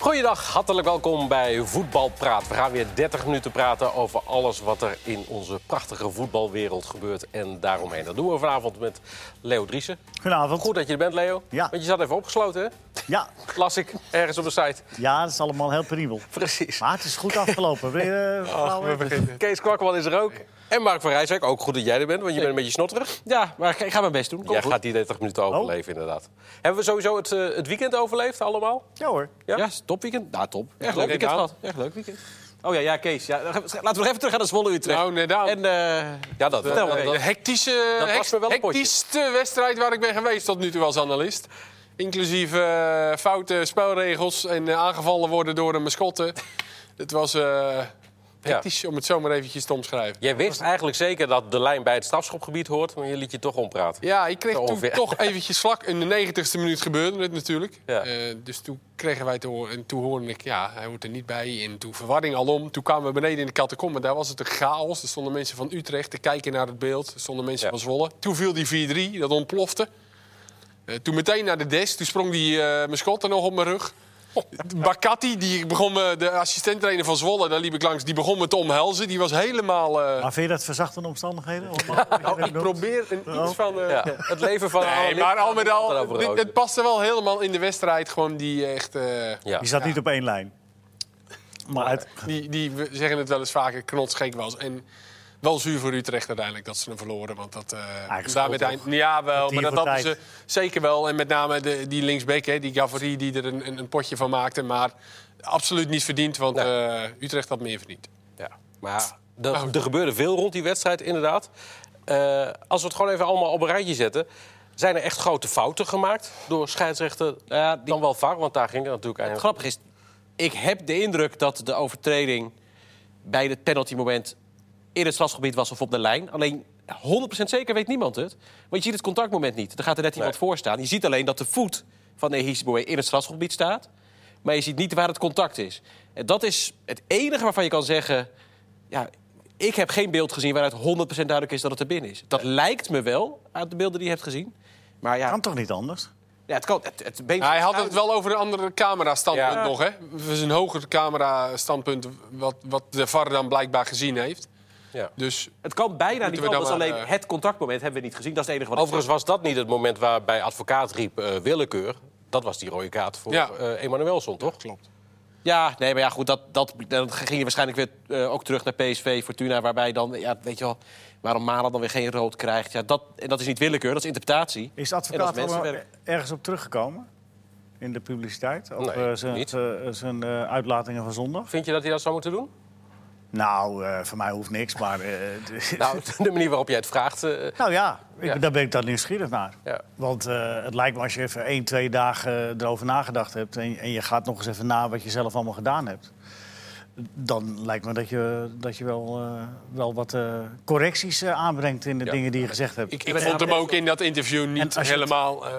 Goeiedag, hartelijk welkom bij Voetbalpraat. We gaan weer 30 minuten praten over alles wat er in onze prachtige voetbalwereld gebeurt en daaromheen. Dat doen we vanavond met Leo Driessen. Goedenavond. Goed dat je er bent, Leo. Ja. Want je zat even opgesloten, hè? Ja. Las ik ergens op de site. ja, dat is allemaal heel penibel. Precies. Maar het is goed afgelopen. Wil je, eh, vrouw even? Kees Kwakman is er ook. En Mark van Rijswijk, ook goed dat jij er bent, want je bent een beetje snotterig. Ja, maar ik- ik ga mijn best doen. Komt jij goed. Oh. gaat die 30 minuten overleven, inderdaad. Hebben we sowieso het, eh, het weekend overleefd allemaal? ja hoor. Ja? Ja, topweekend. Nou, top. Echt Leuk leuk weekend aan. gehad. Echt leuk weekend. Oh ja, ja, Kees. Ja. dan gaan we- Laten we nog even terug gaan naar Zwolle Utrecht. Nou, nee, nou. En eh, Ja, dat Vertel dat- me. dat- De hectische, Dat was hect- me wel een potje. hectischste wedstrijd waar ik ben geweest tot nu toe als analist. Inclusief eh, foute spelregels en eh, aangevallen worden door de mascotte. Het was eh, hectisch, om het zomaar eventjes te omschrijven. Jij wist eigenlijk zeker dat de lijn bij het strafschopgebied hoort, maar je liet je toch ompraten. Ja, ik kreeg Zo toen ongeveer. toch eventjes vlak. In de negentigste minuut gebeurde het natuurlijk. Ja. Eh, dus toen kregen wij te horen. En toen hoorde ik, ja, hij hoort er niet bij. En toen verwarring alom. Toen kwamen we beneden in de catacombe. Daar was het een chaos. Er stonden mensen van Utrecht te kijken naar het beeld. Er stonden mensen Ja. van Zwolle. Toen viel die 4-3. Dat ontplofte. Eh, toen meteen naar de desk. Toen sprong die eh mascotte nog op mijn rug. Bakati, die begon me, de assistent-trainer van Zwolle, daar liep ik langs, die begon me te omhelzen. Die was helemaal. eh, Maar vind je dat verzachtende omstandigheden? Allemaal? ik probeer een, iets van. eh, Ja, het leven van Nee, Alan maar al Nick- met al, Daarover dit- ook. het paste wel helemaal in de wedstrijd. Gewoon die echt... eh, Ja. Je zat niet op één lijn. Maar uit, die, die we zeggen het wel eens vaker, knotsgek was. En wel zuur voor Utrecht uiteindelijk dat ze hem verloren. Want dat... eh, schuld daar met eind, ja, wel. Die Maar dat voor hadden ze tijd. zeker wel. En met name de, die linksbeek, hè, die Gavri, die er een, een, een potje van maakte. Maar absoluut niet verdiend, want eh, Utrecht had meer verdiend. Ja. Maar er, Oh. er gebeurde veel rond die wedstrijd, inderdaad. Eh, als we het gewoon even allemaal op een rijtje zetten... zijn er echt grote fouten gemaakt door scheidsrechter ja, die- dan wel VAR? Want daar ging het natuurlijk het eigenlijk... grappige is, ik heb de indruk dat de overtreding bij het penaltymoment in het strafgebied was of op de lijn. Alleen 100% zeker weet niemand het. Want je ziet het contactmoment niet. Er gaat er net iemand Nee. voor staan. Je ziet alleen dat de voet van Ehisboe in het strafgebied staat. Maar je ziet niet waar het contact is. En dat is het enige waarvan je kan zeggen... Ja, ik heb geen beeld gezien waaruit 100% duidelijk is dat het er binnen is. Dat lijkt me wel uit de beelden die je hebt gezien. Maar ja, kan toch niet anders? ja het kan. Het, het been Nou, hij had het wel over een andere camera-standpunt Ja. nog, hè? Het is een hoger camera-standpunt wat, wat de VAR dan blijkbaar gezien heeft. Ja. Dus Het kan bijna Moeten niet we dan anders, maar, alleen eh, het contactmoment hebben we niet gezien. Dat is het enige wat ik- Overigens was dat niet het moment waarbij advocaat riep eh, willekeur. Dat was die rode kaart voor Ja. eh, Emanuelson, toch? Klopt. Ja, nee, maar ja, goed, dat, dat, dan ging je waarschijnlijk weer eh, ook terug naar PSV, Fortuna... waarbij dan, ja, weet je wel, waarom Malen dan weer geen rood krijgt. Ja, dat, en dat is niet willekeur, dat is interpretatie. Is de En dat advocaat is er wel mensenwerk. ergens op teruggekomen? In de publiciteit? Op Nee, eh, zijn- niet. eh, zijn eh, uitlatingen van zondag? Vind je dat hij dat zou moeten doen? Nou, eh, voor mij hoeft niks, maar... eh, d- Nou, de manier waarop jij het vraagt... eh, Nou ja, ik, Ja. daar ben ik dan nieuwsgierig naar. Ja. Want eh, het lijkt me als je even één, twee dagen eh, erover nagedacht hebt... En, en je gaat nog eens even na wat je zelf allemaal gedaan hebt... dan lijkt me dat je, dat je wel, eh, wel wat eh, correcties eh, aanbrengt in de dingen die je gezegd hebt. ik, ik vond hem ook in dat interview niet als je het- helemaal eh,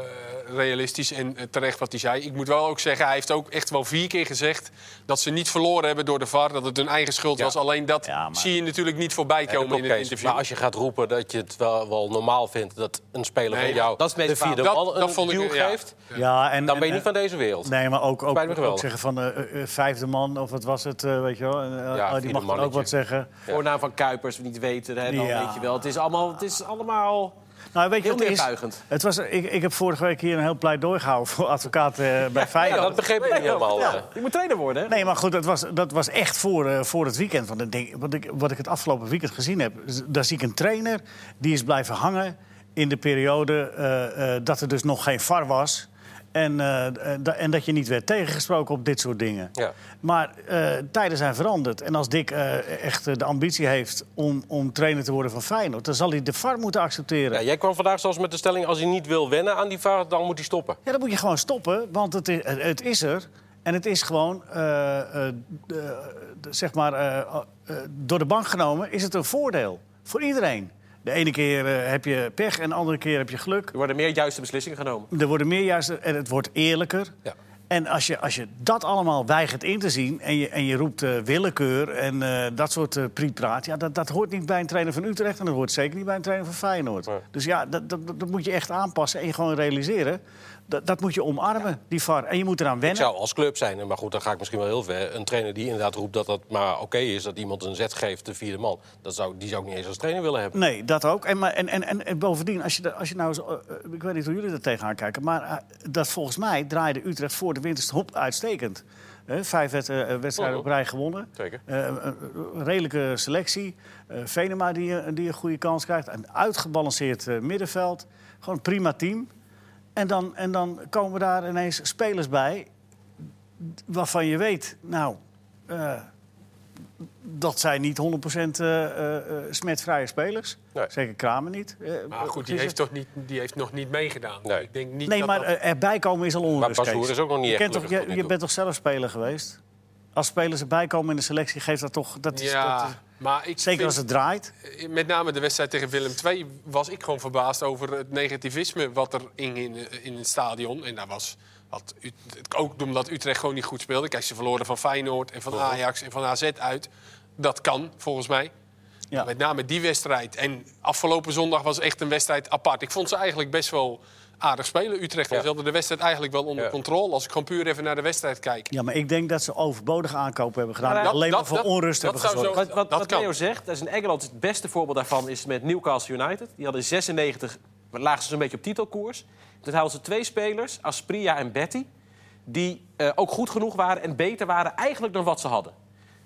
realistisch en eh, terecht wat hij zei. Ik moet wel ook zeggen, hij heeft ook echt wel vier keer gezegd... dat ze niet verloren hebben door de VAR, dat het hun eigen schuld was. Alleen dat Ja, maar- zie je natuurlijk niet voorbij Ja, dat komen klopt, in het Kees. interview. Maar als je gaat roepen dat je het wel, wel normaal vindt dat een speler Nee, van jou dat is het de meest vierde waar. man Dat- een dat vond ik- duw ja. geeft, Ja, en, eh, dan en- ben je niet van deze wereld. Nee, maar ook, ook, Spijt me ook geweldig. zeggen van eh, eh, eh, vijfde man of wat was het, eh, weet je wel. en, eh, oh, vierde die mag dan ook mannetje. wat zeggen. Voornaam van Kuipers, we niet weten, hè, dan Ja. weet je wel. Het is allemaal... Het is allemaal... Nou, weet je Heel wat het is? neerbuigend. Het was, ik, ik heb vorige week hier een heel pleidooi gehouden voor advocaten eh, bij Ja, Feyenoord. dat begreep ik niet helemaal. eh. Je moet trainer worden, hè? Nee, maar goed, dat was, dat was echt voor, eh, voor het weekend. Want ik denk, wat, ik, wat ik het afgelopen weekend gezien heb... z- daar zie ik een trainer die is blijven hangen in de periode... eh, eh, dat er dus nog geen VAR was... En, eh, eh, da- en dat je niet werd tegengesproken op dit soort dingen. Ja. Maar eh, tijden zijn veranderd. En als Dick eh, echt eh, de ambitie heeft om, om trainer te worden van Feyenoord... dan zal hij de VAR moeten accepteren. Ja, jij kwam vandaag zelfs met de stelling... als hij niet wil wennen aan die VAR, dan moet hij stoppen. Ja, dan moet je gewoon stoppen, want het is, het is er. En het is gewoon, eh, eh, de- de- zeg maar, eh, eh, door de bank genomen is het een voordeel voor iedereen. De ene keer eh, heb je pech en de andere keer heb je geluk. Er worden meer juiste beslissingen genomen. Er worden meer juiste en het wordt eerlijker. Ja. En als je, als je dat allemaal weigert in te zien en je, en je roept eh, willekeur en eh, dat soort eh prietpraat... Ja, dat, dat hoort niet bij een trainer van Utrecht en dat hoort zeker niet bij een trainer van Feyenoord. Nee. Dus ja, dat, dat, dat moet je echt aanpassen en je gewoon realiseren. Dat, dat moet je omarmen, die VAR. En je moet eraan Ik wennen. zou als club zijn, en maar goed, dan ga ik misschien wel heel ver. Een trainer die inderdaad roept dat dat maar oké is, dat iemand een zet geeft, de vierde man. Dat zou, die zou ik niet eens als trainer willen hebben. Nee, dat ook. En, maar, en, en, en, en bovendien, als je, da- als je nou eens, eh, eh, ik weet niet hoe jullie er tegenaan kijken, maar eh, dat volgens mij draaide Utrecht voor de winterstop uitstekend. Hè, vijf wed- eh, wedstrijden op rij gewonnen. Oh. Zeker. Eh, een- een redelijke selectie. Eh, Venema die, eh, die een goede kans krijgt. Een uitgebalanceerd eh, middenveld. Gewoon een prima team. En dan, en dan komen daar ineens spelers bij waarvan je weet, nou, eh, dat zijn niet 100% eh, eh, eh, smetvrije spelers. Nee. Zeker Kramer niet. Eh, Maar goed, die Gissen. heeft, toch niet, die heeft nog niet meegedaan. Nee. Ik denk niet Nee, dat maar dat- eh, erbij komen is al onrust. Maar Bas Kees. Hoer is ook nog niet dus je echt kent toch, gelukkig tot je, nu je toe. bent toch zelf speler geweest? Als spelers erbij komen in de selectie, geeft dat toch... Dat is, ja, dat maar ik is- zeker vind- als het draait. Eh, Met name de wedstrijd tegen Willem II was ik gewoon verbaasd over het negativisme wat er hing in, in het stadion. En daar was had Ut- ook omdat Utrecht gewoon niet goed speelde. Kijk, ze verloren van Feyenoord en van Ajax en van AZ uit. Dat kan, volgens mij. Ja. Met name die wedstrijd. En afgelopen zondag was echt een wedstrijd apart. Ik vond ze eigenlijk best wel aardig spelen. Utrecht was Ja. de wedstrijd eigenlijk wel onder Ja. controle. Als ik gewoon puur even naar de wedstrijd kijk. ja, maar ik denk dat ze overbodige aankopen hebben gedaan. Maar die dat- alleen maar dat- voor dat- onrust dat hebben zou gezorgd. zo- Wat, wat, dat wat kan. Leo zegt, dat is in Engeland het beste voorbeeld daarvan is met Newcastle United. Die hadden 96, lagen ze een beetje op titelkoers. Toen hadden ze twee spelers, Aspria en Betty, die eh, ook goed genoeg waren en beter waren eigenlijk dan wat ze hadden.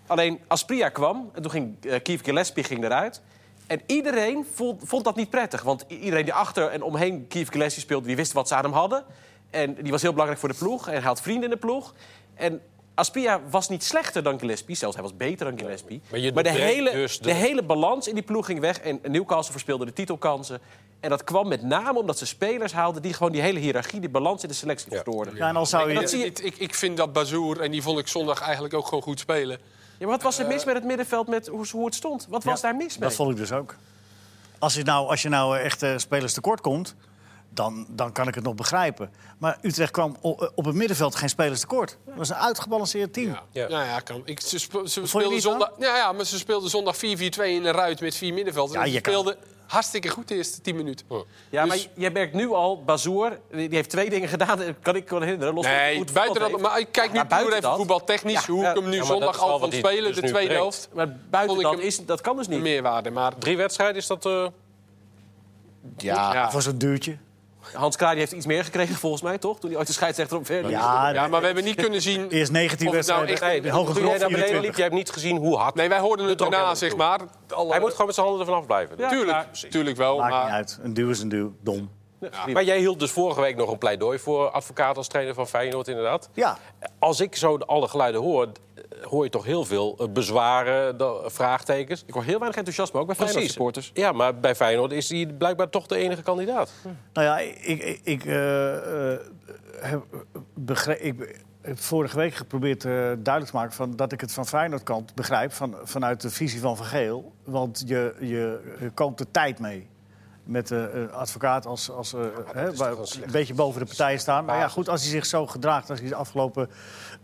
Alleen Aspria kwam en toen ging eh, Keith Gillespie ging eruit. En iedereen vond, vond dat niet prettig. Want i- iedereen die achter en omheen Keith Gillespie speelde, die wist wat ze aan hem hadden. En die was heel belangrijk voor de ploeg. En hij had vrienden in de ploeg. En Aspria was niet slechter dan Gillespie. Zelfs hij was beter dan Gillespie. Maar je de, doorbreekt hele, dus de- de hele balans in die ploeg ging weg. En Newcastle verspeelde de titelkansen. En dat kwam met name omdat ze spelers haalden... die gewoon die hele hiërarchie, die balans in de selectie Ja. verstoorden. Ja, en al zou je... dat zie je- Ik, ik, ik vind dat Bazoer, en die vond ik zondag eigenlijk ook gewoon goed spelen. Ja, maar wat was er mis met het middenveld, met hoe, hoe het stond? Wat was Ja, daar mis mee? Dat vond ik dus ook. Als je nou, als je nou echt eh, spelers tekort komt, dan, dan kan ik het nog begrijpen. Maar Utrecht kwam o- eh, op het middenveld geen spelers tekort. Het was een uitgebalanceerd team. Ja, Ja. ja. Nou ja, kan. Ik, ze spe- ze je speelden niet zondag, ja, ja, maar ze speelden zondag 4-4-2 in een ruit met vier middenvelders. Ja, En ze je kan- speelden hartstikke goed de eerste 10 minuten. Ja, Dus- maar jij merkt nu al, Bazoer, die die heeft twee dingen gedaan. dat Kan ik wel herinneren? Los van hoe Nee, het buiten dat, voetbal maar ik kijk nu Maar buiten puur even dat- voetbaltechnisch. Ja, hoe ja. ik hem nu Ja, maar dat zondag is wel af wat van hij spelen, dus de nu tweede brengt. helft. heeft. Maar buiten Vond dat, ik hem- is, dat kan dus niet. Meerwaarde, maar Drie wedstrijden is dat. eh, ja. Voor zo'n duurtje. Hans Kraaij heeft iets meer gekregen, volgens mij, toch? Toen hij ooit de scheidsrechter op verder Ja, Ja, maar we hebben niet kunnen zien... eerst 19 Of het nou wedstrijden. nee, de hoge toen jij grond naar beneden liep, 24. jij hebt niet gezien hoe hard. Nee, wij hoorden het Dat ook daarna, helemaal zeg toe. maar. Alle- Hij moet gewoon met zijn handen ervan afblijven. Ja. tuurlijk, Ja, tuurlijk wel, Maakt niet maar... uit. Een duw is een duw. Dom. Maar jij hield dus vorige week nog een pleidooi voor advocaat als trainer van Feyenoord, inderdaad. Ja. Als ik zo de- alle geluiden hoor, eh, hoor je toch heel veel eh, bezwaren, da- vraagtekens. Ik hoor heel weinig enthousiasme, ook bij Feyenoord supporters. Ja, maar bij Feyenoord is hij blijkbaar toch de enige kandidaat. Nou ja, ik, ik, ik, eh, eh, heb, begre- ik be- heb vorige week geprobeerd eh, duidelijk te maken van, dat ik het van Feyenoord kant begrijp van, vanuit de visie van Van Geel. Want je, je, je koopt de tijd mee. Met eh, een advocaat als, als eh, hè, waar- een beetje boven de partijen staan. Maar ja, goed, als hij zich zo gedraagt als hij de afgelopen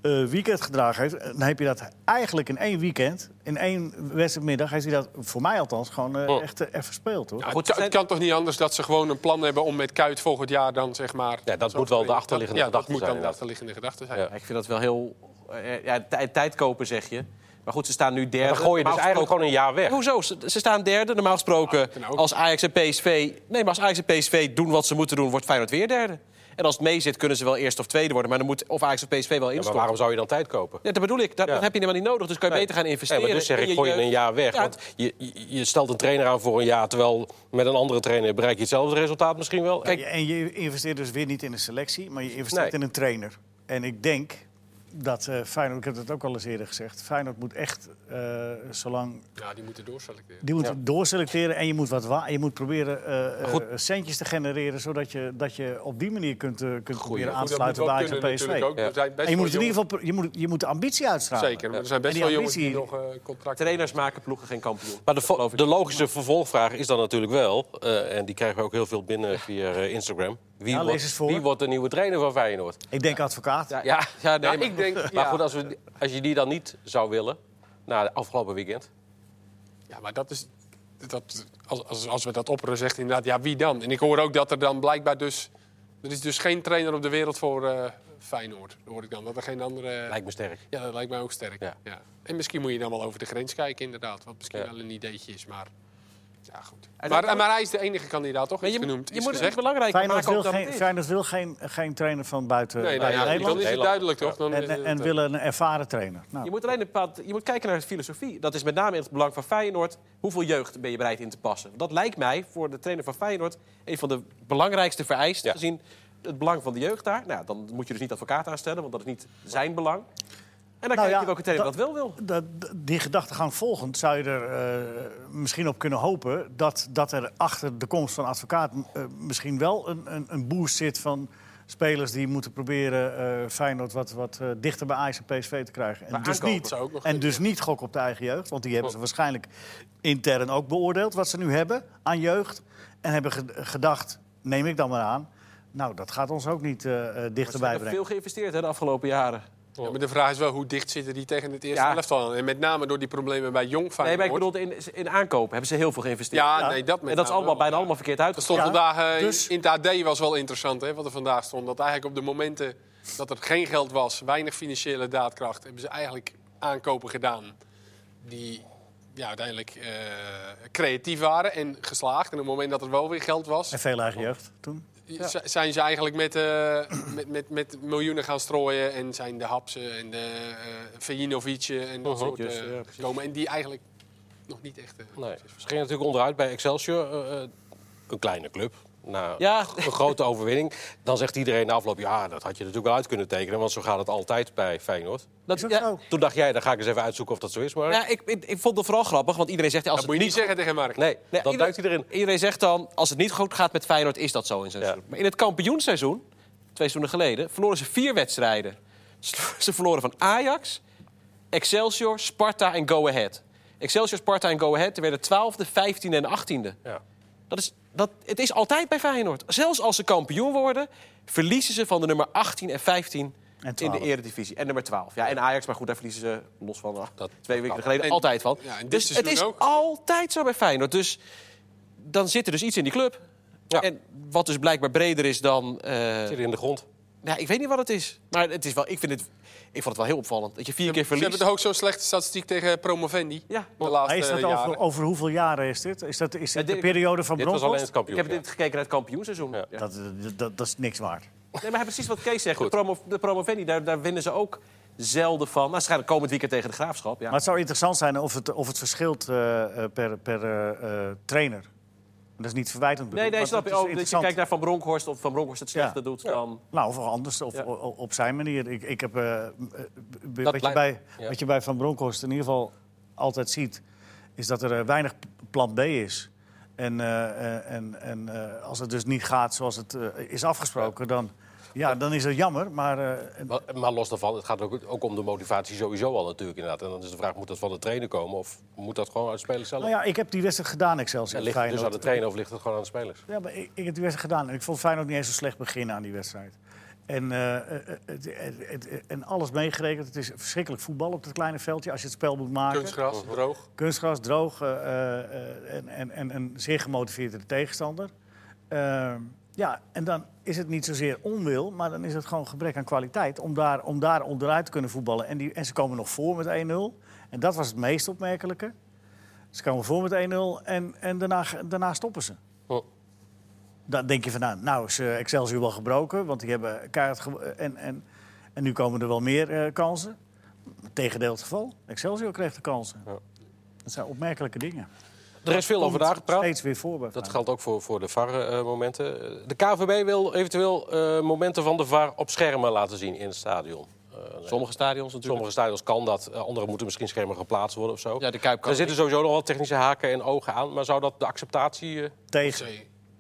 eh, weekend gedragen heeft, dan heb je dat eigenlijk in één weekend, in één wedstrijdmiddag, heeft hij dat voor mij althans gewoon eh, echt eh, echt verspeeld hoor. Ja, Goed, het, kan- zijn- het kan toch niet anders dat ze gewoon een plan hebben om met Kuit volgend jaar dan, zeg maar... Ja, dat zo moet wel de spelen. achterliggende ja, dat gedachte moet zijn, dan de achterliggende gedachte zijn. Ja. Ja, ik vind dat wel heel... eh, ja, tijd, tijd kopen, zeg je. Maar goed, ze staan nu derde. Dan gooi je dus Normaal eigenlijk gesproken- gewoon Ah, een jaar weg. Hoezo? Ze, ze staan derde. Normaal gesproken, kan ook. als Ajax en PSV... Nee, maar als Ajax en PSV doen wat ze moeten doen, wordt Feyenoord weer derde. En als het mee zit, kunnen ze wel eerst of tweede worden. Maar dan moet of Ajax of PSV wel Ja, maar instorten. waarom zou je dan tijd kopen? Ja, dat bedoel ik. Dat, Ja. dat heb je helemaal niet nodig. Dus kan je beter gaan investeren. Ja, maar dus zeg in ik, gooi je jeugd. een jaar weg. Ja. Want je, je, je stelt een trainer aan voor een jaar... terwijl met een andere trainer bereik je hetzelfde resultaat misschien wel. Kijk, Ja, En je investeert dus weer niet in een selectie, maar je investeert Nee. in een trainer. En ik denk dat eh, Feyenoord, ik heb dat ook al eens eerder gezegd, Feyenoord moet echt eh, zolang. Ja, die moeten doorselecteren. Die moet doorselecteren en je moet, wat wa- je moet proberen eh, eh, centjes te genereren, zodat je, dat je op die manier kunt, eh, kunt proberen aan Goed, te dat moet sluiten wel bij Ajax en kunnen natuurlijk PSV. ook. Er zijn best En je wel moet in ieder geval pro- je moet, je moet de ambitie uitstralen. Zeker, maar er zijn best En wel die jongens die nog ambitie- eh contracten Trainers maken ploegen geen kampioen. Maar de, vo- de logische vervolgvraag is dan natuurlijk wel, eh, en die krijgen we ook heel veel binnen via eh, Instagram. Wie, Ja, lees wordt, eens voor. wie wordt de nieuwe trainer van Feyenoord? Ik denk advocaat. Ja, ja, nee, Ja, maar, ik denk, maar ja. goed, als, we, als je die dan niet zou willen, na de afgelopen weekend... Ja, maar dat is. Dat, als, als, als we dat opperen, zegt inderdaad, ja, wie dan? En ik hoor ook dat er dan blijkbaar dus. Er is dus geen trainer op de wereld voor eh, Feyenoord, hoor ik dan. Dat er geen andere. Lijkt me sterk. Ja, dat lijkt mij ook sterk. Ja. Ja. En misschien moet je dan wel over de grens kijken, inderdaad. Wat misschien Ja. wel een ideetje is, maar. Ja, goed. En Maar, eh, dat- maar hij is de enige kandidaat, toch? Maar Is je, genoemd. je is moet het gezegd. belangrijk Feyenoord maken wil, ook dat geen, het is. Feyenoord wil geen, geen trainer van buiten Nee, nou buiten ja, dan Nederland. is het duidelijk, toch? Dan is En, het- eh, en willen een ervaren trainer. Nou, Je moet alleen een bepaald, je moet kijken naar de filosofie. Dat is met name in het belang van Feyenoord. Hoeveel jeugd ben je bereid in te passen? Dat lijkt mij voor de trainer van Feyenoord een van de belangrijkste vereisten Ja. gezien het belang van de jeugd daar. Nou, dan moet je dus niet advocaat aanstellen, want dat is niet zijn belang. En dan kijk Nou ja, je welke trainer dat, dat- wel wil. dat, die gedachtegang volgend zou je er eh, misschien op kunnen hopen... Dat, dat er achter de komst van advocaat eh, misschien wel een, een, een boost zit van... Spelers die moeten proberen eh Feyenoord wat, wat eh, dichter bij Ajax en PSV te krijgen. En, Maar dus aankopen zou ook niet, nog en dus niet gokken op de eigen jeugd. Want die hebben ze waarschijnlijk intern ook beoordeeld. Wat ze nu hebben aan jeugd. En hebben ge- gedacht, neem ik dan maar aan. Nou, dat gaat ons ook niet eh, eh, Ze dichterbij hebben brengen. veel geïnvesteerd hè, de afgelopen jaren. Ja, maar de vraag is wel hoe dicht zitten die tegen het eerste Oh. Ja. elftal aan? En met name door die problemen bij Jong Nee, Feyenoord. maar ik bedoel, in, in aankopen hebben ze heel veel geïnvesterd. ja, nee, dat met en dat is name allemaal, wel. bijna allemaal verkeerd Er uitgestort. stond Ja, vandaag eh, dus- in het AD was wel interessant, hè, wat er vandaag stond. Dat eigenlijk op de momenten dat er geen geld was, weinig financiële daadkracht, hebben ze eigenlijk aankopen gedaan die ja, uiteindelijk eh, creatief waren en geslaagd. En op het moment dat er wel weer geld was, En veel eigen jeugd toen. z- zijn ze eigenlijk met, eh, met, met, met miljoenen gaan strooien en zijn de Hapsen en de eh Vejinovic en Oh, dat soort Juist, eh, ja, precies. gekomen. En die eigenlijk nog niet echt. eh, Nee, ze gingen natuurlijk onderuit bij Excelsior. eh, eh, een kleine club. Na Ja. een grote overwinning. Dan zegt iedereen na afloop... ja, dat had je natuurlijk wel uit kunnen tekenen... want zo gaat het altijd bij Feyenoord. Dat- Is dat ja, zo? Toen dacht jij, dan ga ik eens even uitzoeken of dat zo is. Maar ja, ik, ik, ik vond het vooral grappig, want iedereen zegt... ja, Als dat moet je niet zeggen tegen Mark. nee, Nee, dat ieder- duikt hij erin. Iedereen zegt dan, als het niet goed gaat met Feyenoord, is dat zo in zo'n Ja. seizoen. Maar in het kampioenseizoen, twee seizoenen geleden, verloren ze vier wedstrijden. Ze ze verloren van Ajax, Excelsior, Sparta en Go Ahead. Excelsior, Sparta en Go Ahead ze werden 12e, 15e en 18e. Ja. Dat is, dat, het is altijd bij Feyenoord. Zelfs als ze kampioen worden, verliezen ze van de nummer 18 en 15 En in de 12. Eredivisie. En nummer 12. Ja, en Ajax, maar goed, daar verliezen ze los van ah, Dat twee weken geleden En- altijd van. ja, en dit dus het seizoen is ook. altijd zo bij Feyenoord. Dus dan zit er dus iets in die club. Ja. En wat dus blijkbaar breder is dan... eh, Zit in de grond. nou, ik weet niet wat het is. Maar het is wel, ik, vind het, ik vond het wel heel opvallend. Dat je vier keer Ze hebben verliest. toch ook zo'n slechte statistiek tegen Promovendi? Ja. de laatste Maar is dat jaren. over, over hoeveel jaren is dit? Is, dat, is dit dit- de periode van Dit was alleen het Bronkhorst? Ik kampioen. heb dit gekeken naar het kampioenseizoen. Ja. Ja. Dat, dat, dat, dat is niks waard. Nee, maar precies wat Kees zegt. De, Goed. promo, de promovendi, daar, daar winnen ze ook zelden van. Nou, waarschijnlijk komend weekend tegen de Graafschap. Ja. Maar het zou interessant zijn of het, of het verschilt eh, eh, per, per eh, eh, trainer. Dat is niet verwijtend nee, bedoeld. nee, maar snap het is je ook. Dat je interessant. kijkt naar Van Bronckhorst of Van Bronckhorst het slechte Ja. doet dan... Nou, of anders, of Ja. o- o- op zijn manier. Ik, ik heb, eh, eh, wat, je lijkt- bij, ja. wat je bij Van Bronckhorst in ieder geval altijd ziet... is dat er eh, weinig p- plan B is. En, eh, eh, en, en eh, als het dus niet gaat zoals het eh, is afgesproken... Dan, ja, dan is dat jammer, maar... eh, Maar, maar los daarvan, het gaat ook, ook om de motivatie sowieso al natuurlijk inderdaad. En dan is de vraag, moet dat van de trainer komen of moet dat gewoon uit de spelers zelf? Nou ja, ik heb die wedstrijd gedaan, Excelsior. En ligt het dus aan Feyenoord. de trainer of ligt het gewoon aan de spelers? Ja, maar ik, ik heb die wedstrijd gedaan. En ik vond Feyenoord niet eens zo slecht beginnen aan die wedstrijd. En, eh, eh, het, het- het- en alles meegerekend. Het is verschrikkelijk voetbal op dat kleine veldje. Als je het spel moet maken. Kunstgras, droog. Kunstgras, droog eh, eh, en, en, en een zeer gemotiveerde tegenstander. Eh, ja, en dan is het niet zozeer onwil, maar dan is het gewoon gebrek aan kwaliteit om daar, om daar onderuit te kunnen voetballen. En, die, en ze komen nog voor met 1-0. En dat was het meest opmerkelijke. Ze komen voor met 1-0 en, en daarna, daarna stoppen ze. Oh. Dan denk je van, nou, nou is eh, Excelsior wel gebroken, want die hebben kaart en, en, en nu komen er wel meer eh, kansen. Tegendeel het geval. Excelsior kreeg de kansen. Dat zijn opmerkelijke dingen. Er is veel Komt over nagepraat. Steeds weer voor bij Dat Feyenoord. geldt ook voor, voor de VAR-momenten. de KVB wil eventueel eh, momenten van de VAR op schermen laten zien in het stadion. Eh, Sommige stadions in sommige stadions kan dat, eh, andere moeten misschien schermen geplaatst worden of zo. Ja, de Kuip kan er zitten sowieso nog wel technische haken en ogen aan. Maar zou dat de acceptatie eh, Tegen.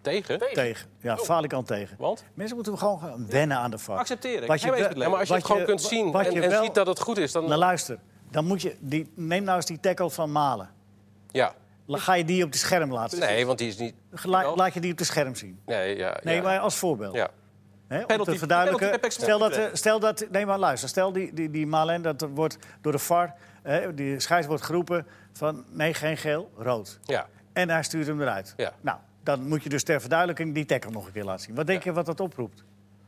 tegen? Tegen. Ja, Falikant tegen. Want? Mensen moeten gewoon gaan wennen aan de VAR. Accepteren. Wat je Geen wel- wezen met Ja, maar als je wat het gewoon kunt wa- zien wat en, je en wel- ziet dat het goed is, dan... Nou, luister. Dan moet je die, neem nou eens die tackle van Malen. ja. Ga je die op de scherm laten zien? Nee, want die is niet... La- laat je die op de scherm zien? Nee, ja. Nee, ja. maar als voorbeeld. Ja. Hè, om Penalty- te verduidelijken. penalty bij Pek stel, dat, Zwolle. eh, stel dat. Nee, maar luister. Stel die, die, die Malen, dat er wordt door de VAR. Hè, die scheids wordt geroepen van. Nee, geen geel, rood. ja. En hij stuurt hem eruit. Ja. Nou, dan moet je dus ter verduidelijking die tackle nog een keer laten zien. Wat denk je wat dat oproept?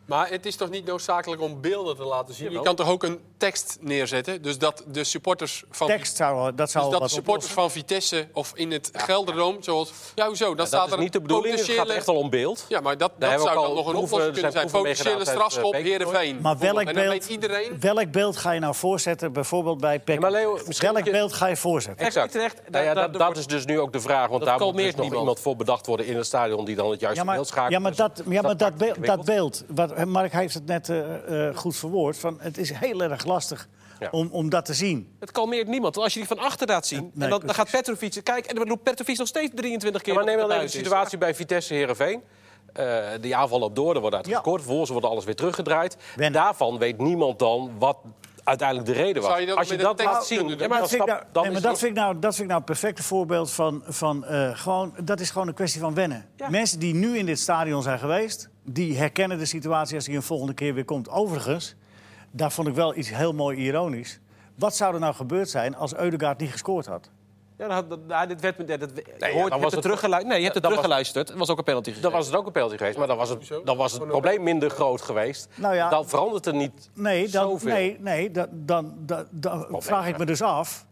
Maar het is toch niet noodzakelijk om beelden te laten zien? Je Jawel. kan toch ook een tekst neerzetten? Dus dat de supporters van, Tekst zou eh, dat zou dus dat de wat supporters van Vitesse of in het Gelderdoom... Zoals, ja, hoezo? Dan Dat staat is er niet de bedoeling, het gaat potentiële- echt al om beeld. Ja, maar dat, Daar dat hebben we zou ook dan al nog een proeven, oplossing er zijn kunnen zijn. proeven Potentiële meegedaan uit, strafschop, eh, Beek. Heerenveen. Maar welk En dan weet beeld, iedereen... welk beeld ga je nou voorzetten? Bijvoorbeeld bij Peck. maar Leo, misschien welk moet je- beeld ga je voorzetten? Exact. Utrecht, nou ja, daar- dat, daar dat is dus nu ook de vraag. Want Dat daar moet dus kalmeert nog niemand. iemand voor bedacht worden in het stadion... die dan het juiste Ja, maar, beeld schakelt. ja, maar, Dus dat, ja, maar dat, maakt het beeld, dat ingewikkeld. beeld, wat, hè, Mark heeft het net eh, eh, goed verwoord, van het is heel erg lastig Ja. om, om dat te zien. Het kalmeert niemand. Want als je die van achter laat zien, en dan, dan precies. gaat Petrovic... Kijk, en dan doet Petrovic nog steeds 23 keer. Ja, maar neem dat dan hij even de buiten is. situatie bij Vitesse Herenveen. Eh die aanval loopt door, er wordt uit Ja. gescoord. Vervolgens wordt alles weer teruggedraaid. Wennen. Daarvan weet niemand dan wat uiteindelijk de reden was. Zou je dat Als je met een dat tekst laat kunnen zien, ja, doen? maar Maar dat, vind ik nou, dan nee, is maar dat, vind ik nou, dat vind ik nou een perfect voorbeeld van... van eh, gewoon, dat is gewoon een kwestie van wennen. Ja. Mensen die nu in dit stadion zijn geweest... die herkennen de situatie als die een volgende keer weer komt. Overigens, daar vond ik wel iets heel mooi ironisch. Wat zou er nou gebeurd zijn als Eudegaard niet gescoord had? Ja, dan had- dan- ja, dit werd, ja, dat, je ja, hoort- je dan hebt was het het- teruggeluisterd. Nee, je hebt het dan was- teruggeluisterd. Het was ook een penalty gegeven. Dan was het ook een penalty geweest, maar dan was het, dan was het probleem minder groot geweest. Nou ja. dan verandert er niet Nee, dan, zoveel. nee, nee, dan, dan, dan, dan vraag ik me dus af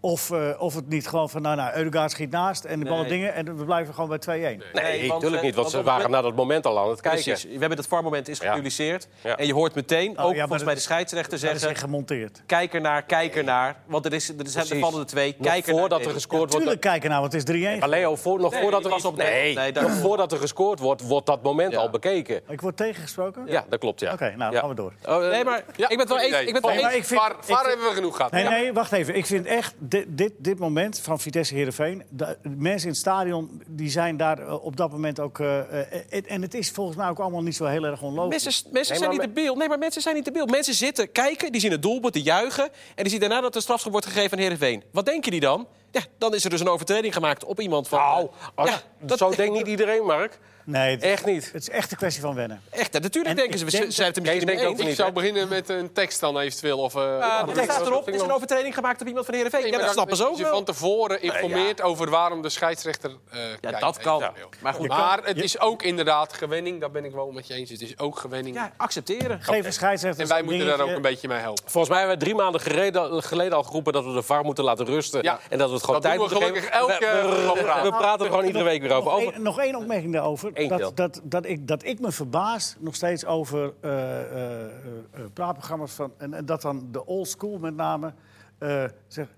of, eh, of het niet gewoon van... nou, nou Eudegaard schiet naast en de bal Nee. dingen... en we blijven gewoon bij 2-1. Nee, Nee, want, natuurlijk eh, niet, want want ze op het waren na dat moment al aan het kijken. Precies. We hebben dat VAR-moment is Ja. gepubliceerd. Ja. En je hoort meteen, Oh, ook ja, maar volgens dat mij de is- scheidsrechter Dat is zeggen... echt gemonteerd. Kijk ernaar, kijk ernaar. Want er, is, er, is, er Precies. vallen er twee. Nog Kijk ernaar. voordat er Nee. gescoord wordt. Tuurlijk kijken nou, want het is 3-1. Maar Leo, voor, nog, Nee, voordat die er, was op- nee, nee, daar- nog voordat er gescoord wordt, wordt dat moment Ja. al bekeken. Ik word tegengesproken? Ja, dat klopt, ja. Oké, nou, Ja. gaan we door. Oh, eh, Oh, Nee, maar ik Ja, ben het wel goed eens... Ik idee. ben het wel Nee, maar eens- ik vind- Waar, ik waar vind- hebben we genoeg gehad? Nee, Ja. nee, wacht even. Ik vind echt dit, dit, dit moment van Vitesse Heerenveen... de mensen in het stadion die zijn daar eh, op dat moment ook... eh, eh, het- en het is volgens mij ook allemaal niet zo heel erg onlogisch. Mensen, mensen Nee, zijn maar niet te beeld. Nee, maar mensen zijn niet te beeld. Mensen zitten, kijken, die zien het doelpunt, die juichen... en die zien daarna dat er strafschop wordt gegeven aan Heerenveen. Wat denken die dan? Ja, dan is er dus een overtreding gemaakt op iemand van... Nou, eh, als- ja, dat, zo denkt niet iedereen, Mark. Nee, het- Echt niet. Het is echt een kwestie van wennen. echt, hè, natuurlijk En denken ik ze. We denk zijn het er misschien Kees denkt mee eens. ook Ik niet, zou hè? beginnen met een tekst dan eventueel. Of, eh, Ja, of- de tekst of- erop, er is een of- overtreding gemaakt op iemand van Heerenveen. Nee, ja, maar dat dan- snappen ze ook als je wel. van tevoren informeert over waarom de scheidsrechter eh, kijkt, dat kan. eventueel. Maar goed. maar het je- is ook inderdaad gewenning. Daar ben ik wel met je eens. Het is ook gewenning. Ja, accepteren. Geef een scheidsrechter en wij zo'n moeten daar ook dingetje. een beetje mee helpen. Volgens mij hebben we drie maanden gereden- geleden al geroepen dat we de VAR moeten laten rusten. Ja. En dat we het gewoon Dat tijd doen we moeten gelukkig elke We- we, programma. we praten er gewoon iedere week weer over. Nog over één- nog één opmerking daarover. Eén keer. dat, dat, dat, ik, dat ik me verbaas nog steeds over eh, eh, eh, praatprogramma's van... En, en dat dan de old school met name eh, zegt...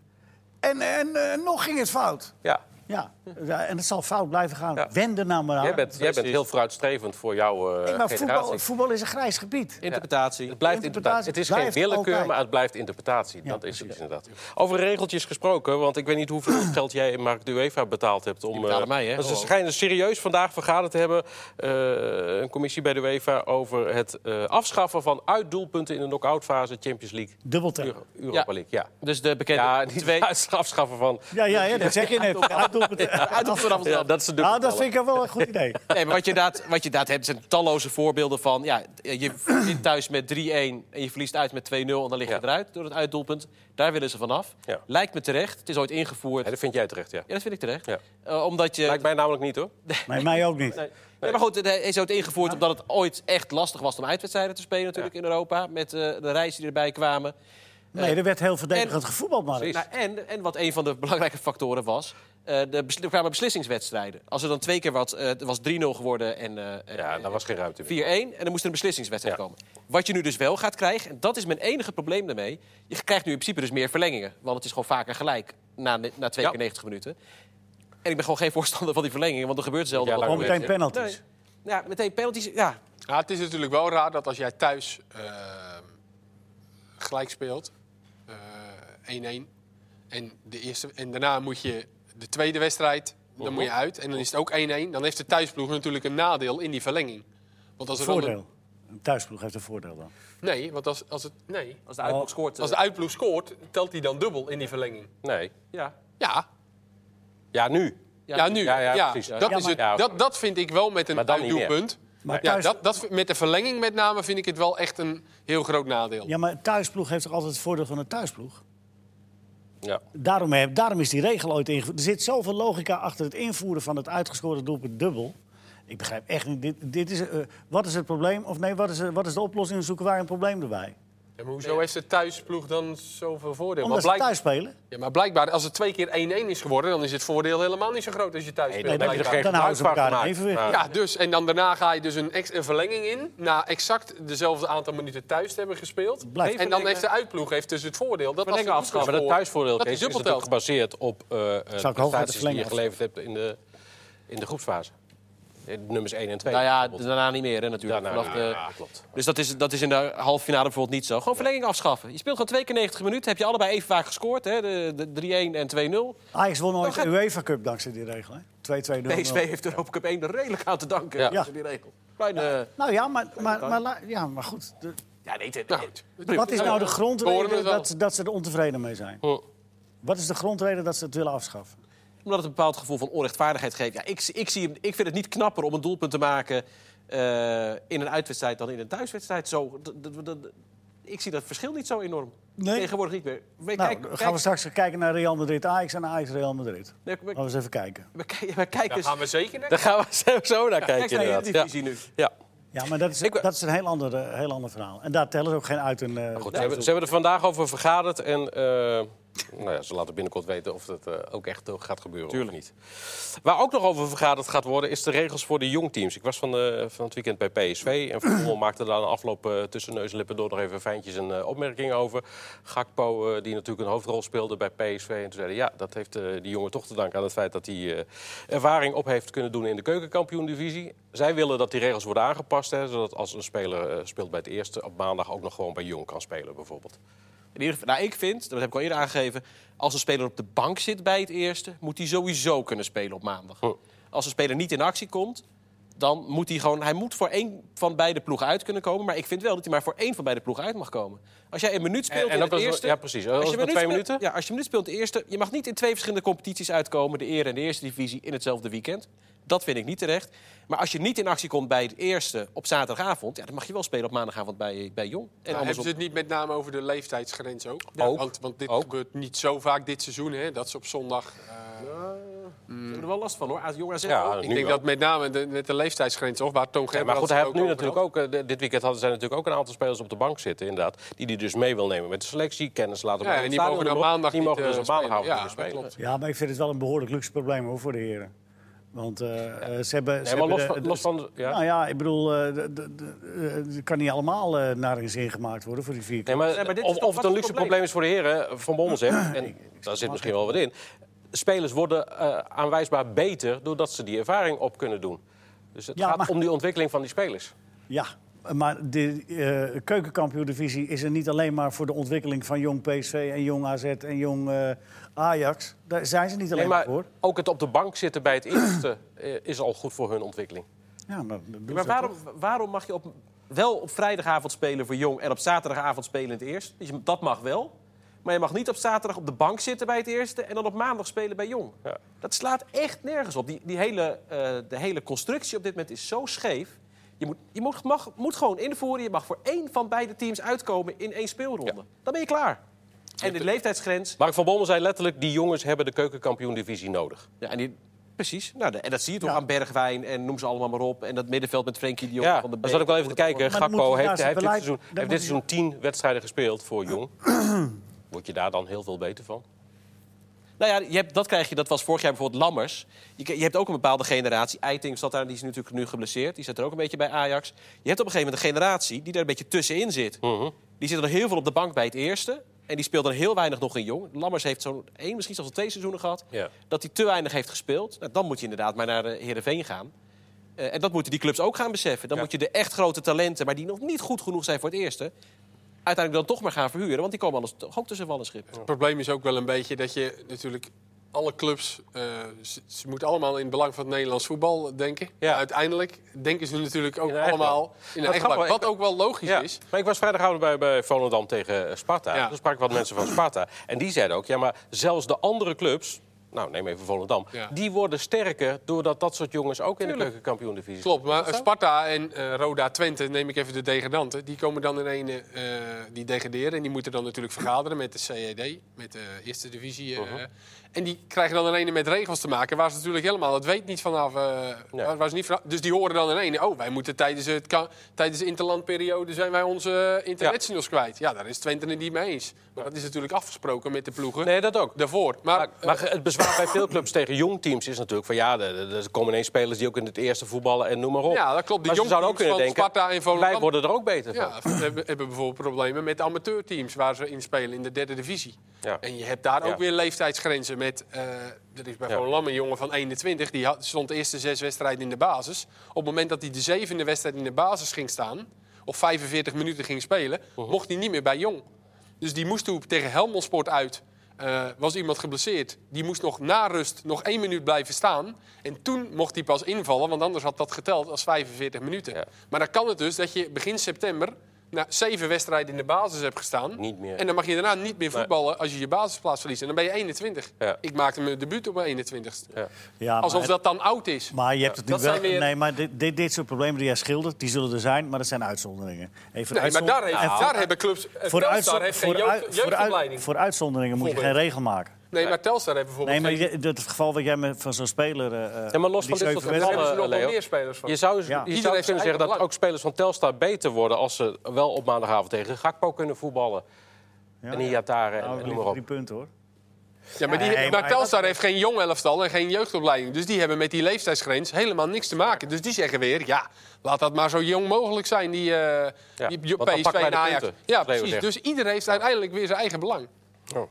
En, en eh, nog ging het fout. ja. Ja, ja, en het zal fout blijven gaan. Ja. Wend er nou maar aan. jij, bent, jij bent heel vooruitstrevend voor jouw eh, Nee, maar generatie. voetbal, voetbal is een grijs gebied. Interpretatie. Het blijft interpretatie. Interpretatie Het is blijft geen willekeur, altijd. maar het blijft interpretatie. Ja, dat is het inderdaad. Over regeltjes gesproken, want ik weet niet hoeveel geld jij Mark de UEFA betaald hebt. Om, betalen eh, mij, hè? want Ze Hallo. schijnen serieus vandaag vergaderd te hebben. eh, een commissie bij de UEFA over het eh, afschaffen van uitdoelpunten in de knock-outfase Champions League. Dubbel tellen. Euro- Europa League, ja. Dus de bekende Ja, niet twee... het afschaffen van. Ja, ja, ja, dat zeg je net. Uitdoelpunt- vanaf Ja, dat is de dubbel Nou, dat vind ik wel een goed idee. Nee, maar wat je, inderdaad, wat je inderdaad hebt, zijn talloze voorbeelden van... Ja, je wint thuis met 3-1 en je verliest uit met 2-0... en dan lig je Ja. eruit door het uitdoelpunt. Daar willen ze vanaf. Ja. Lijkt me terecht. Het is ooit ingevoerd. Ja, dat vind jij terecht, ja. Ja, dat vind ik terecht. Ja. Eh, omdat je... Lijkt mij namelijk niet, hoor. Maar mij ook niet. Nee, maar goed, het is ooit ingevoerd omdat het ooit echt lastig was... om uitwedstrijden te spelen natuurlijk in Europa. Met eh, de reizen die erbij kwamen. Nee, er werd heel verdedigend en- gevoetbald, maar. Precies. Nou, en, en wat een van de belangrijke factoren was, eh, de bes- er kwamen beslissingswedstrijden. Als er dan twee keer wat, eh, het was 3-0 geworden en eh, Ja, eh, daar was geen ruimte 4-1, meer. en dan moest er een beslissingswedstrijd Ja. komen. Wat je nu dus wel gaat krijgen, en dat is mijn enige probleem daarmee, je krijgt nu in principe dus meer verlengingen. Want het is gewoon vaker gelijk na, na twee Ja. keer 90 minuten. En ik ben gewoon geen voorstander van die verlengingen, want er gebeurt zelden Ja, wat. Gewoon lang meteen weer. penalties. Nee, ja, meteen penalties. Ja, Ja, het is natuurlijk wel raar dat als jij thuis ehm, gelijk speelt, eh, 1-1, en, de eerste, en daarna moet je de tweede wedstrijd, dan moet je Mhm. uit, en dan is het ook 1-1, dan heeft de thuisploeg natuurlijk een nadeel in die verlenging. Want als er dan een- Voordeel. Een thuisploeg heeft een voordeel dan. nee, want als, als, het, nee. als de uitboek scoort. eh, als de uitploeg scoort, telt hij dan dubbel in die verlenging. Nee. ja. Ja, Ja, nu. Ja, nu. Ja, Ja, ja, precies. Dat, Ja, is maar- het, Ja, oké. dat, dat vind ik wel met Maar een dan niet meer. uitdoelpunt. Maar Ja, thuis- dat, dat, met de verlenging met name vind ik het wel echt een heel groot nadeel. Ja, maar thuisploeg heeft toch altijd het voordeel van een thuisploeg? Ja. Daarom, heb, daarom is die regel ooit ingevoerd. Er zit zoveel logica achter het invoeren van het uitgescoorde doelpunt dubbel. Ik begrijp echt niet. Dit, dit is, eh, wat is het probleem? Of nee, wat is, eh, wat is de oplossing? Dan zoeken wij een probleem erbij. Ja, maar hoezo heeft de thuisploeg dan zoveel voordeel? Omdat ze maar, blijk- thuis spelen. ja, maar blijkbaar, als het twee keer 1-1 is geworden... dan is het voordeel helemaal niet zo groot als je thuis Nee, speelt. dan heb je er blijkbaar. geen Dan houden ze gebruik van elkaar in gemaakt. evenwicht. Nou, Ja, dus. En dan daarna ga je dus een, ex- een verlenging in. Na exact dezelfde aantal minuten thuis te hebben gespeeld. Blijft. En dan heeft de uitploeg heeft dus het voordeel dat als Verlengen er Maar afschaffen. dat scoort, thuisvoordeel dat Kees, is is natuurlijk dubbelteld. gebaseerd op eh, eh, de hoog prestaties die je verlengen? geleverd hebt in de, in de groepsfase. De Nummers 1 en 2. Nou ja, daarna niet meer hè, natuurlijk. Daarna Vanaf niet meer, de- ja, klopt. Dus dat is, dat is in de halve finale bijvoorbeeld niet zo. Gewoon verlenging afschaffen. Je speelt gewoon twee keer 90 minuten. Heb je allebei even vaak gescoord. Hè? De, de 3-1 en 2-0. Ajax won ooit gaat- de UEFA Cup dankzij die regel. hè? 2-2 0 PSV heeft de Europa Cup 1 er redelijk aan te danken. Ja. Ja. Die regel. Klein, eh, ja. Nou ja, maar, maar, maar, la- ja, maar goed. De- nee, dit- Nou, goed. wat is nou de horen grondreden het wel. dat, ze- dat ze er ontevreden mee zijn? Oh. Wat is de grondreden dat ze het willen afschaffen? Omdat het een bepaald gevoel van onrechtvaardigheid geeft. Ja, ik, ik, zie, hem- ik vind het niet knapper om een doelpunt te maken eh, in een uitwedstrijd dan in een thuiswedstrijd. Zo, d- d- d- d- ik zie dat verschil niet zo enorm. Nee. Tegenwoordig niet meer. We, Nou, kijk, dan gaan kijk- we straks kijken naar Real Madrid Ajax en Ajax Real Madrid. nee, we- Laten we eens even kijken. we kijk- we kijken Daar eens- gaan we zeker naar. Daar gaan we zo naar kijk eens kijken naar de inderdaad. Ja. Eredivisie nu. Ja. Ja, maar dat is, Ik ben- dat is een heel ander, eh, heel ander verhaal. En daar tellen ze ook geen uit. Een, eh, Goed, ze, hebben, ze hebben er vandaag over vergaderd en eh, nou ja, ze laten binnenkort weten of dat eh, ook echt eh, gaat gebeuren Tuurlijk. of niet. Waar ook nog over vergaderd gaat worden is de regels voor de jongteams. Ik was van, de, van het weekend bij PSV en Vermoel maakte daar een afloop eh, tussen neus en lippen door nog even fijntjes en eh, opmerkingen over. Gakpo, eh, die natuurlijk een hoofdrol speelde bij PSV. En toen zeiden ja, dat heeft eh, die jongen toch te danken aan het feit dat hij eh, ervaring op heeft kunnen doen in de keukenkampioen-divisie. Zij willen dat die regels worden aangepast, hè, zodat als een speler eh, speelt bij het eerste op maandag ook nog gewoon bij jong kan spelen bijvoorbeeld. In ieder geval, nou, ik vind, dat heb ik al eerder aangegeven... als een speler op de bank zit bij het eerste... moet hij sowieso kunnen spelen op maandag. Oh. Als een speler niet in actie komt... dan moet hij gewoon... Hij moet voor één van beide ploegen uit kunnen komen. Maar ik vind wel dat hij maar voor één van beide ploegen uit mag komen. Als jij een minuut speelt En- en in ook het als- eerste... ja, precies. Als het maar een minuut twee speelt- Ja, als je een minuut speelt in het eerste... je mag niet in twee verschillende competities uitkomen... de Ere en de Eerste Divisie in hetzelfde weekend. Dat vind ik niet terecht. Maar als je niet in actie komt bij het eerste op zaterdagavond... Ja, dan mag je wel spelen op maandagavond bij, bij Jong. En Nou, hebben andersom. ze het niet met name over de leeftijdsgrens ook? Ook. Want, want dit Ook. gebeurt niet zo vaak dit seizoen, hè? Dat ze op zondag... eh, Ik heb er wel last van, hoor. Jong AZ Ja, ook. nu ik denk wel. dat met name de, met de leeftijdsgrens, of waar Toon Ja, Gerber maar goed, hij heeft nu over natuurlijk had. ook, eh, d- dit weekend hadden zij natuurlijk ook een aantal spelers op de bank zitten, inderdaad. Die die dus mee wil nemen met de selectie, kennis laten Ja, maken. en die mogen dan maandag die mogen niet, dus eh, op maandagavond spelen. niet meer Ja, dat spelen. klopt. Ja, maar ik vind het wel een behoorlijk luxe probleem hoor, voor de heren. Want eh, eh, ze hebben. ze maar hebben los van- los van- ja. Nou ja, ik bedoel, eh, de- de- de- eh, het kan niet allemaal eh, naar een zin gemaakt worden voor die vier. Nee, maar, Nee, maar dit is of, toch of het een wat luxe het probleem? probleem is voor de heren, eh, Van Bommel zegt, en daar zit misschien wel wat in... spelers worden eh, aanwijsbaar beter doordat ze die ervaring op kunnen doen. Dus het Ja, gaat maar- om die ontwikkeling van die spelers. Ja, maar de eh keukenkampioen-divisie is er niet alleen maar voor de ontwikkeling van jong PSV en jong AZ en jong eh, Ajax. Daar zijn ze niet alleen Nee, maar, maar voor. ook het op de bank zitten bij het eerste eh, is al goed voor hun ontwikkeling. Ja, maar, dat doen Maar ze waarom, oh, waarom mag je op, wel op vrijdagavond spelen voor Jong... en op zaterdagavond spelen in het eerst? Dus je- dat mag wel. Maar je mag niet op zaterdag op de bank zitten bij het eerste... en dan op maandag spelen bij Jong. Ja. Dat slaat echt nergens op. Die, die hele, eh, de hele constructie op dit moment is zo scheef. Je, moet, je moet, mag, moet gewoon invoeren... je mag voor één van beide teams uitkomen in één speelronde. Ja. Dan ben je klaar. En de leeftijdsgrens... Mark van Bommel zei letterlijk, die jongens hebben de keukenkampioen-divisie nodig. Ja, en die, precies. Nou, de- en dat zie je toch aan Bergwijn en noem ze allemaal maar op. En dat middenveld met Frenkie de Jong Ja, van de dan zat ik wel even te kijken. Maar dan Gakpo moet je heeft, daar hij heeft dit beleid- seizoen, dan heeft moet dit je- seizoen tien wedstrijden gespeeld voor Jong. Word je daar dan heel veel beter van? Nou ja, je hebt, dat krijg je, dat was vorig jaar bijvoorbeeld Lammers. Je, ke- je hebt ook een bepaalde generatie. Eiting zat daar, die is natuurlijk nu geblesseerd. Die zit er ook een beetje bij Ajax. Je hebt op een gegeven moment een generatie die daar een beetje tussenin zit. Mhm. Die zit er heel veel op de bank bij het eerste. En die speelt dan heel weinig nog in jong. Lammers heeft zo'n één, misschien zelfs al twee seizoenen gehad. Ja. Dat hij te weinig heeft gespeeld. Nou, dan moet je inderdaad maar naar eh, Heerenveen gaan. Eh, en dat moeten die clubs ook gaan beseffen. Dan Ja. moet je de echt grote talenten, maar die nog niet goed genoeg zijn voor het eerste... uiteindelijk dan toch maar gaan verhuren. Want die komen anders toch ook tussen wal en schip. Het probleem is ook wel een beetje dat je natuurlijk alle clubs, eh, ze, ze moeten allemaal in het belang van het Nederlands voetbal denken. Ja. Uiteindelijk denken ze natuurlijk ook hun eigen allemaal in hun Dat eigen belang. grappig, Wat ook wel logisch Ja, is. maar ik was vrijdagavond bij, bij Volendam tegen eh, Sparta. Ja. Toen sprak ik wat mensen van Sparta. En die zeiden ook, ja, maar zelfs de andere clubs... nou neem even Volendam. Ja. Die worden sterker doordat dat soort jongens ook in de keukenkampioen-divisie Klopt, maar Sparta en eh, Roda Twente, neem ik even de degradanten... die komen dan in een, eh, die degraderen en die moeten dan natuurlijk vergaderen met de CED... met de eerste divisie. eh, Mhm. En die krijgen dan in ene met regels te maken... waar ze natuurlijk helemaal, dat weet niet vanaf... eh, Nee. waar, waar ze niet vanaf dus die horen dan in ene... oh, wij moeten tijdens, het, ka- tijdens de interlandperiode zijn wij onze eh, internationals kwijt. Ja, daar is Twente het niet mee eens. Maar dat is natuurlijk afgesproken met de ploegen Nee, dat ook. daarvoor. Maar, eh, Maar, maar het bezwaar bij veel clubs tegen jong teams is natuurlijk van ja, er- er er komen ineens spelers die ook in het eerste voetballen en noem maar op. Ja, dat klopt. Die Maar ze jong zouden ook teams kunnen van denken, Sparta en Volendam- wij worden er ook beter van. Ja, we hebben, hebben bijvoorbeeld problemen met amateurteams waar ze in spelen in de derde divisie. Ja. En je hebt daar ook Ja. weer leeftijdsgrenzen met. eh, er is bij Ja. Volendam een jongen van 21, die had, stond de eerste zes wedstrijden in de basis. Op het moment dat hij de zevende wedstrijd in de basis ging staan, of 45 minuten ging spelen, Mhm. mocht hij niet meer bij jong. Dus die moest toen tegen Helmond Sport uit. eh, was iemand geblesseerd. Die moest nog na rust nog één minuut blijven staan. En toen mocht hij pas invallen, want anders had dat geteld als 45 minuten. Ja. Maar dan kan het dus dat je begin september na zeven wedstrijden in de basis hebt gestaan. Niet meer. En dan mag je daarna niet meer voetballen als je je basisplaats verliest. En dan ben je 21. Ja. Ik maakte mijn debuut op mijn 21ste. Ja. Ja, Alsof maar- dat dan oud is. Maar je hebt het nu dat wel. zijn weer- Nee, maar dit, dit, dit soort problemen die jij schildert, die zullen er zijn, maar dat zijn uitzonderingen. Even Nee, maar uitzon- daar, heeft, en voor- daar hebben clubs... eh, voor, Telstar uitzon- heeft geen voor, jeugd- uit- voor, uit- jeugdopleiding. voor uitzonderingen moet je geen Bijvoorbeeld. regel maken. Nee, maar Telstar heeft bijvoorbeeld Nee, maar geen- je- dat geval wat jij met, van zo'n speler. eh Ja, maar los die van dit soort zeven wedstrijden- Daar hebben ze nog wel Leo. meer spelers van. Je zou, Ja. je Iedereen zou heeft zijn kunnen zeggen dat eigen ook spelers van Telstar beter worden... als ze wel op maandagavond tegen Gakpo kunnen voetballen. en Iataren Nou, en noem maar liever op. drie punten hoor. Ja, maar, die, Nee, maar maar dat- Telstar heeft geen jong elftal en geen jeugdopleiding. Dus die hebben met die leeftijdsgrens helemaal niks te maken. Dus die zeggen weer, ja, laat dat maar zo jong mogelijk zijn, die, eh Ja, die want dan PSV pakken wij en de Ajax. punten, ja, zoals Leo precies. zegt. Dus iedereen heeft uiteindelijk weer zijn eigen belang. Oh.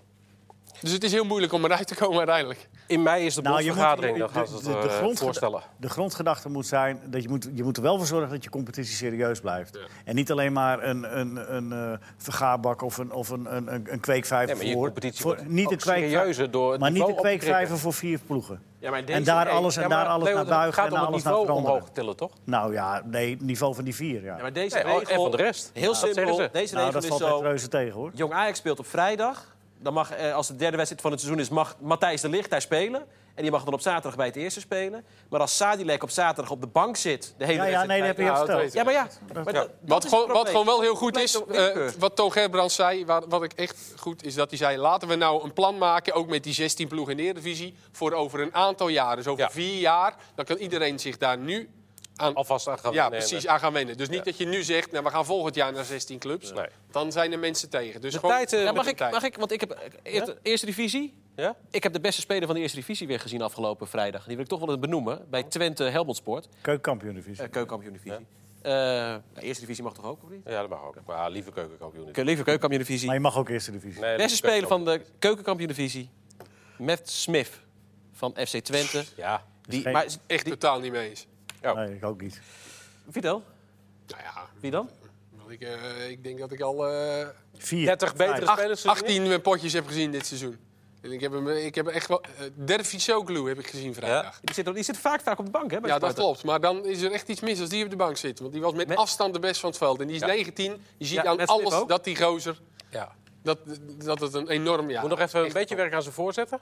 Dus het is heel moeilijk om eruit te komen uiteindelijk. In mei is de Nou, je moet- bondsvergadering, de- dan gaan ze de- het de eh, grondgeda- voorstellen. De grondgedachte moet zijn dat je moet, je moet er wel voor zorgen dat je competitie serieus blijft. En niet alleen maar een, een, een eh, vergaarbak of een, of een, een, een- een kweekvijver Nee, maar je voor. competitie voor- wordt niet ook een kweekvij- serieuzer door het maar niet niveau een op te kweekvijver krikken. voor vier ploegen. Ja, maar en daar alles, en daar alles naar Het buigen gaat en om het alles naar niveau veranderen. omhoog tillen, toch? Nou ja, nee, het niveau van die vier. Ja. Ja, maar deze Nee, oh, en regel, van de rest. Heel Ja, dat zeggen simpel. ze. Deze nou, regel dat is valt echt zo. reuze tegen hoor. Jong Ajax speelt op vrijdag. Dan mag, eh, als de derde wedstrijd van het seizoen is, mag Matthijs de Ligt daar spelen. En die mag dan op zaterdag bij het eerste spelen. Maar als Sadilek op zaterdag op de bank zit, de hele Ja, ja, wedstrijd nee, dat bij- heb je al dat verteld. weet Ja, maar ja. Maar dat- dat Wat, is gewoon, het wat probleem. gewoon wel heel goed Blijft is, op willekeur. eh, wat Toon Gerbrand zei, waar, wat ik echt goed is dat hij zei... laten we nou een plan maken, ook met die 16 ploegen in de Eredivisie... voor over een aantal jaren, dus over Ja. vier jaar... dan kan iedereen zich daar nu aan Alvast aan gaan Ja, nemen. precies, aan gaan wennen. Dus niet dat je nu zegt, nou, we gaan volgend jaar naar 16 clubs. Nee. Dan zijn er mensen tegen. Dus De gewoon tijd, eh, met Ja, de mag, ik, tijd. mag ik? Want ik heb eh, eerst- eerste divisie. Ja? Ik heb de beste speler van de eerste divisie weer gezien afgelopen vrijdag. Die wil ik toch wel eens benoemen. Bij Twente Helmond Sport. Keukenkampioen divisie. Eh keukenkampioen divisie. Eh, nou, eerste divisie mag toch ook, of niet? Ja, dat mag ook. Maar liever keukenkampioen. niet. Ik liever keukenkampioen divisie. Maar je mag ook eerste divisie. Nee, Beste liever speler van de keukenkampioen divisie. Matt Smith van FC Twente. Ja. Die, geen- maar, Echt totaal niet mee eens. Nee, ik ook niet. wie dan? Nou ja, Wie dan? want ik, eh, ik denk dat ik al eh, Vier. 30 betere Vijf. acht- spelers. gezien? 18 potjes heb gezien dit seizoen. En ik heb hem, ik heb echt wel... eh, Dervis Soglu heb ik gezien vrijdag. Die zit, die zit vaak vaak op de bank, hè? bij Ja, dat Sparta. klopt. Maar dan is er echt iets mis als die op de bank zit. Want die was met Met- afstand de best van het veld. En die is 19. Je ziet Ja, aan met Smith alles ook. dat die gozer... Ja. Dat, dat het een enorm... Ja, Moet nog even een echt- beetje werk aan zijn voorzetten.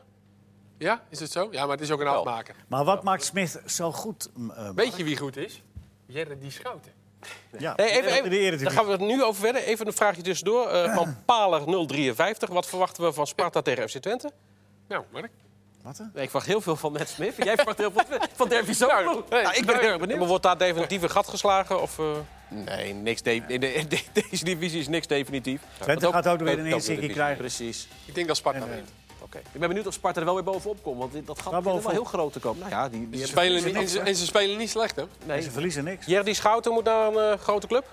Ja, is het zo? Ja, maar het is ook een Wel. afmaker. Maar wat maakt Smith zo goed? m- eh, Weet je wie goed is? Jerry die Schouten. ja, Nee, even, in de even, Eredivisie. daar gaan we het nu over verder. Even een vraagje tussendoor. eh, van Paler 053. Wat verwachten we van Sparta tegen FC Twente? Nou, Mark. Wat, hè? Nee, ik verwacht heel veel van Matt Smith. Jij verwacht heel veel van, van Derby Nou, ik ben heel erg Maar benieuwd. wordt daar definitief een gat geslagen? Of, eh, Nee, niks de- in de- in de- deze divisie is niks definitief. Twente ook- gaat ook weer een ook inzikkie Eredivisie. krijgen. Precies. Ik denk dat Sparta wint. oké. Ik ben benieuwd of Sparta er wel weer bovenop komt. Want dit- dat gat Waar begint wel bovenop? heel groot te komen. Nou ja, die, die Ze hebben- spelen, niet- en, ze, en ze spelen niet slecht, hè? En Ze nee. verliezen niks. Jerdy Schouten moet naar een eh, grote club?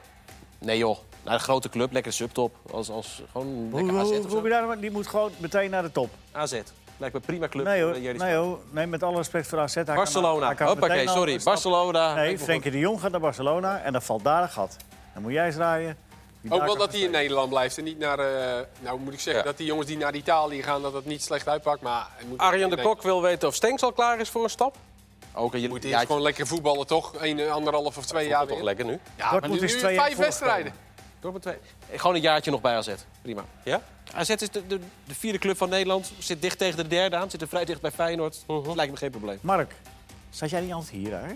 nee joh, naar een grote club, lekker subtop. Als, als gewoon Hoe, lekker AZ hoe, of hoe, zo. hoe- daar- die moet gewoon meteen naar de top. AZ. Lijkt me een prima club. Nee voor, hoor, eh, Jerry nee, hoor. nee met alle respect voor AZ. hij kan- Barcelona. hij kan Hoppakee, meteen al sorry. een stap- Barcelona. Nee, Ik wil Frenkie de Jong gaat naar Barcelona en dan valt daar een gat. Dan moet jij eens raaien. wie Ook daar wel kan dat hij in Nederland blijft en niet naar... eh, nou, moet ik zeggen, Ja. dat die jongens die naar Italië gaan, dat dat niet slecht uitpakt. Maar hij moet Arjen de nee, Kok wil weten of Stenks al klaar is voor een stap. gewoon- Ook, je, moet ja, eerst gewoon lekker voetballen, toch? Eén, eh, anderhalf of twee Ja, jaar toch weer. lekker nu. Ja, Dortmund maar nu, is nu twee jaar vijf wedstrijden. Door met twee. Gewoon een jaartje nog bij AZ. Prima. Ja? AZ is de, de, de vierde club van Nederland. Zit dicht tegen de derde aan. Zit er vrij dicht bij Feyenoord. Mhm. Dat lijkt me geen probleem. Mark, zat jij niet altijd hier, hè?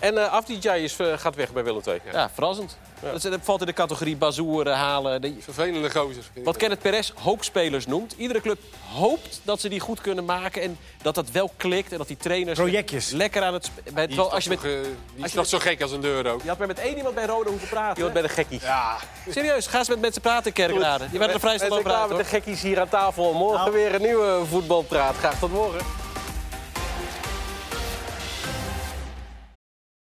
En eh Afdijay is, eh, gaat weg bij Willem II. Ja, verrassend. Dat, is- dat valt in de categorie bazoeren, halen. De- Vervelende gozer. wat Kenneth Perez hoopspelers noemt. Iedere club hoopt dat ze die goed kunnen maken. En dat dat wel klikt. En dat die trainers Projectjes. lekker aan het... spe- bij- Die terwijl is, als je met, toch, eh, die is toch zo gek als een deur ook. Je had maar met één iemand bij Rode hoeven praten. Iemand bij de gekkies. Ja, serieus, ga eens met mensen praten, Kerkrade. Je bent er vrij snel We zijn over klaar uit, met hoor. Nou. de gekkies hier aan tafel. Morgen weer een nieuwe voetbalpraat. Graag tot morgen.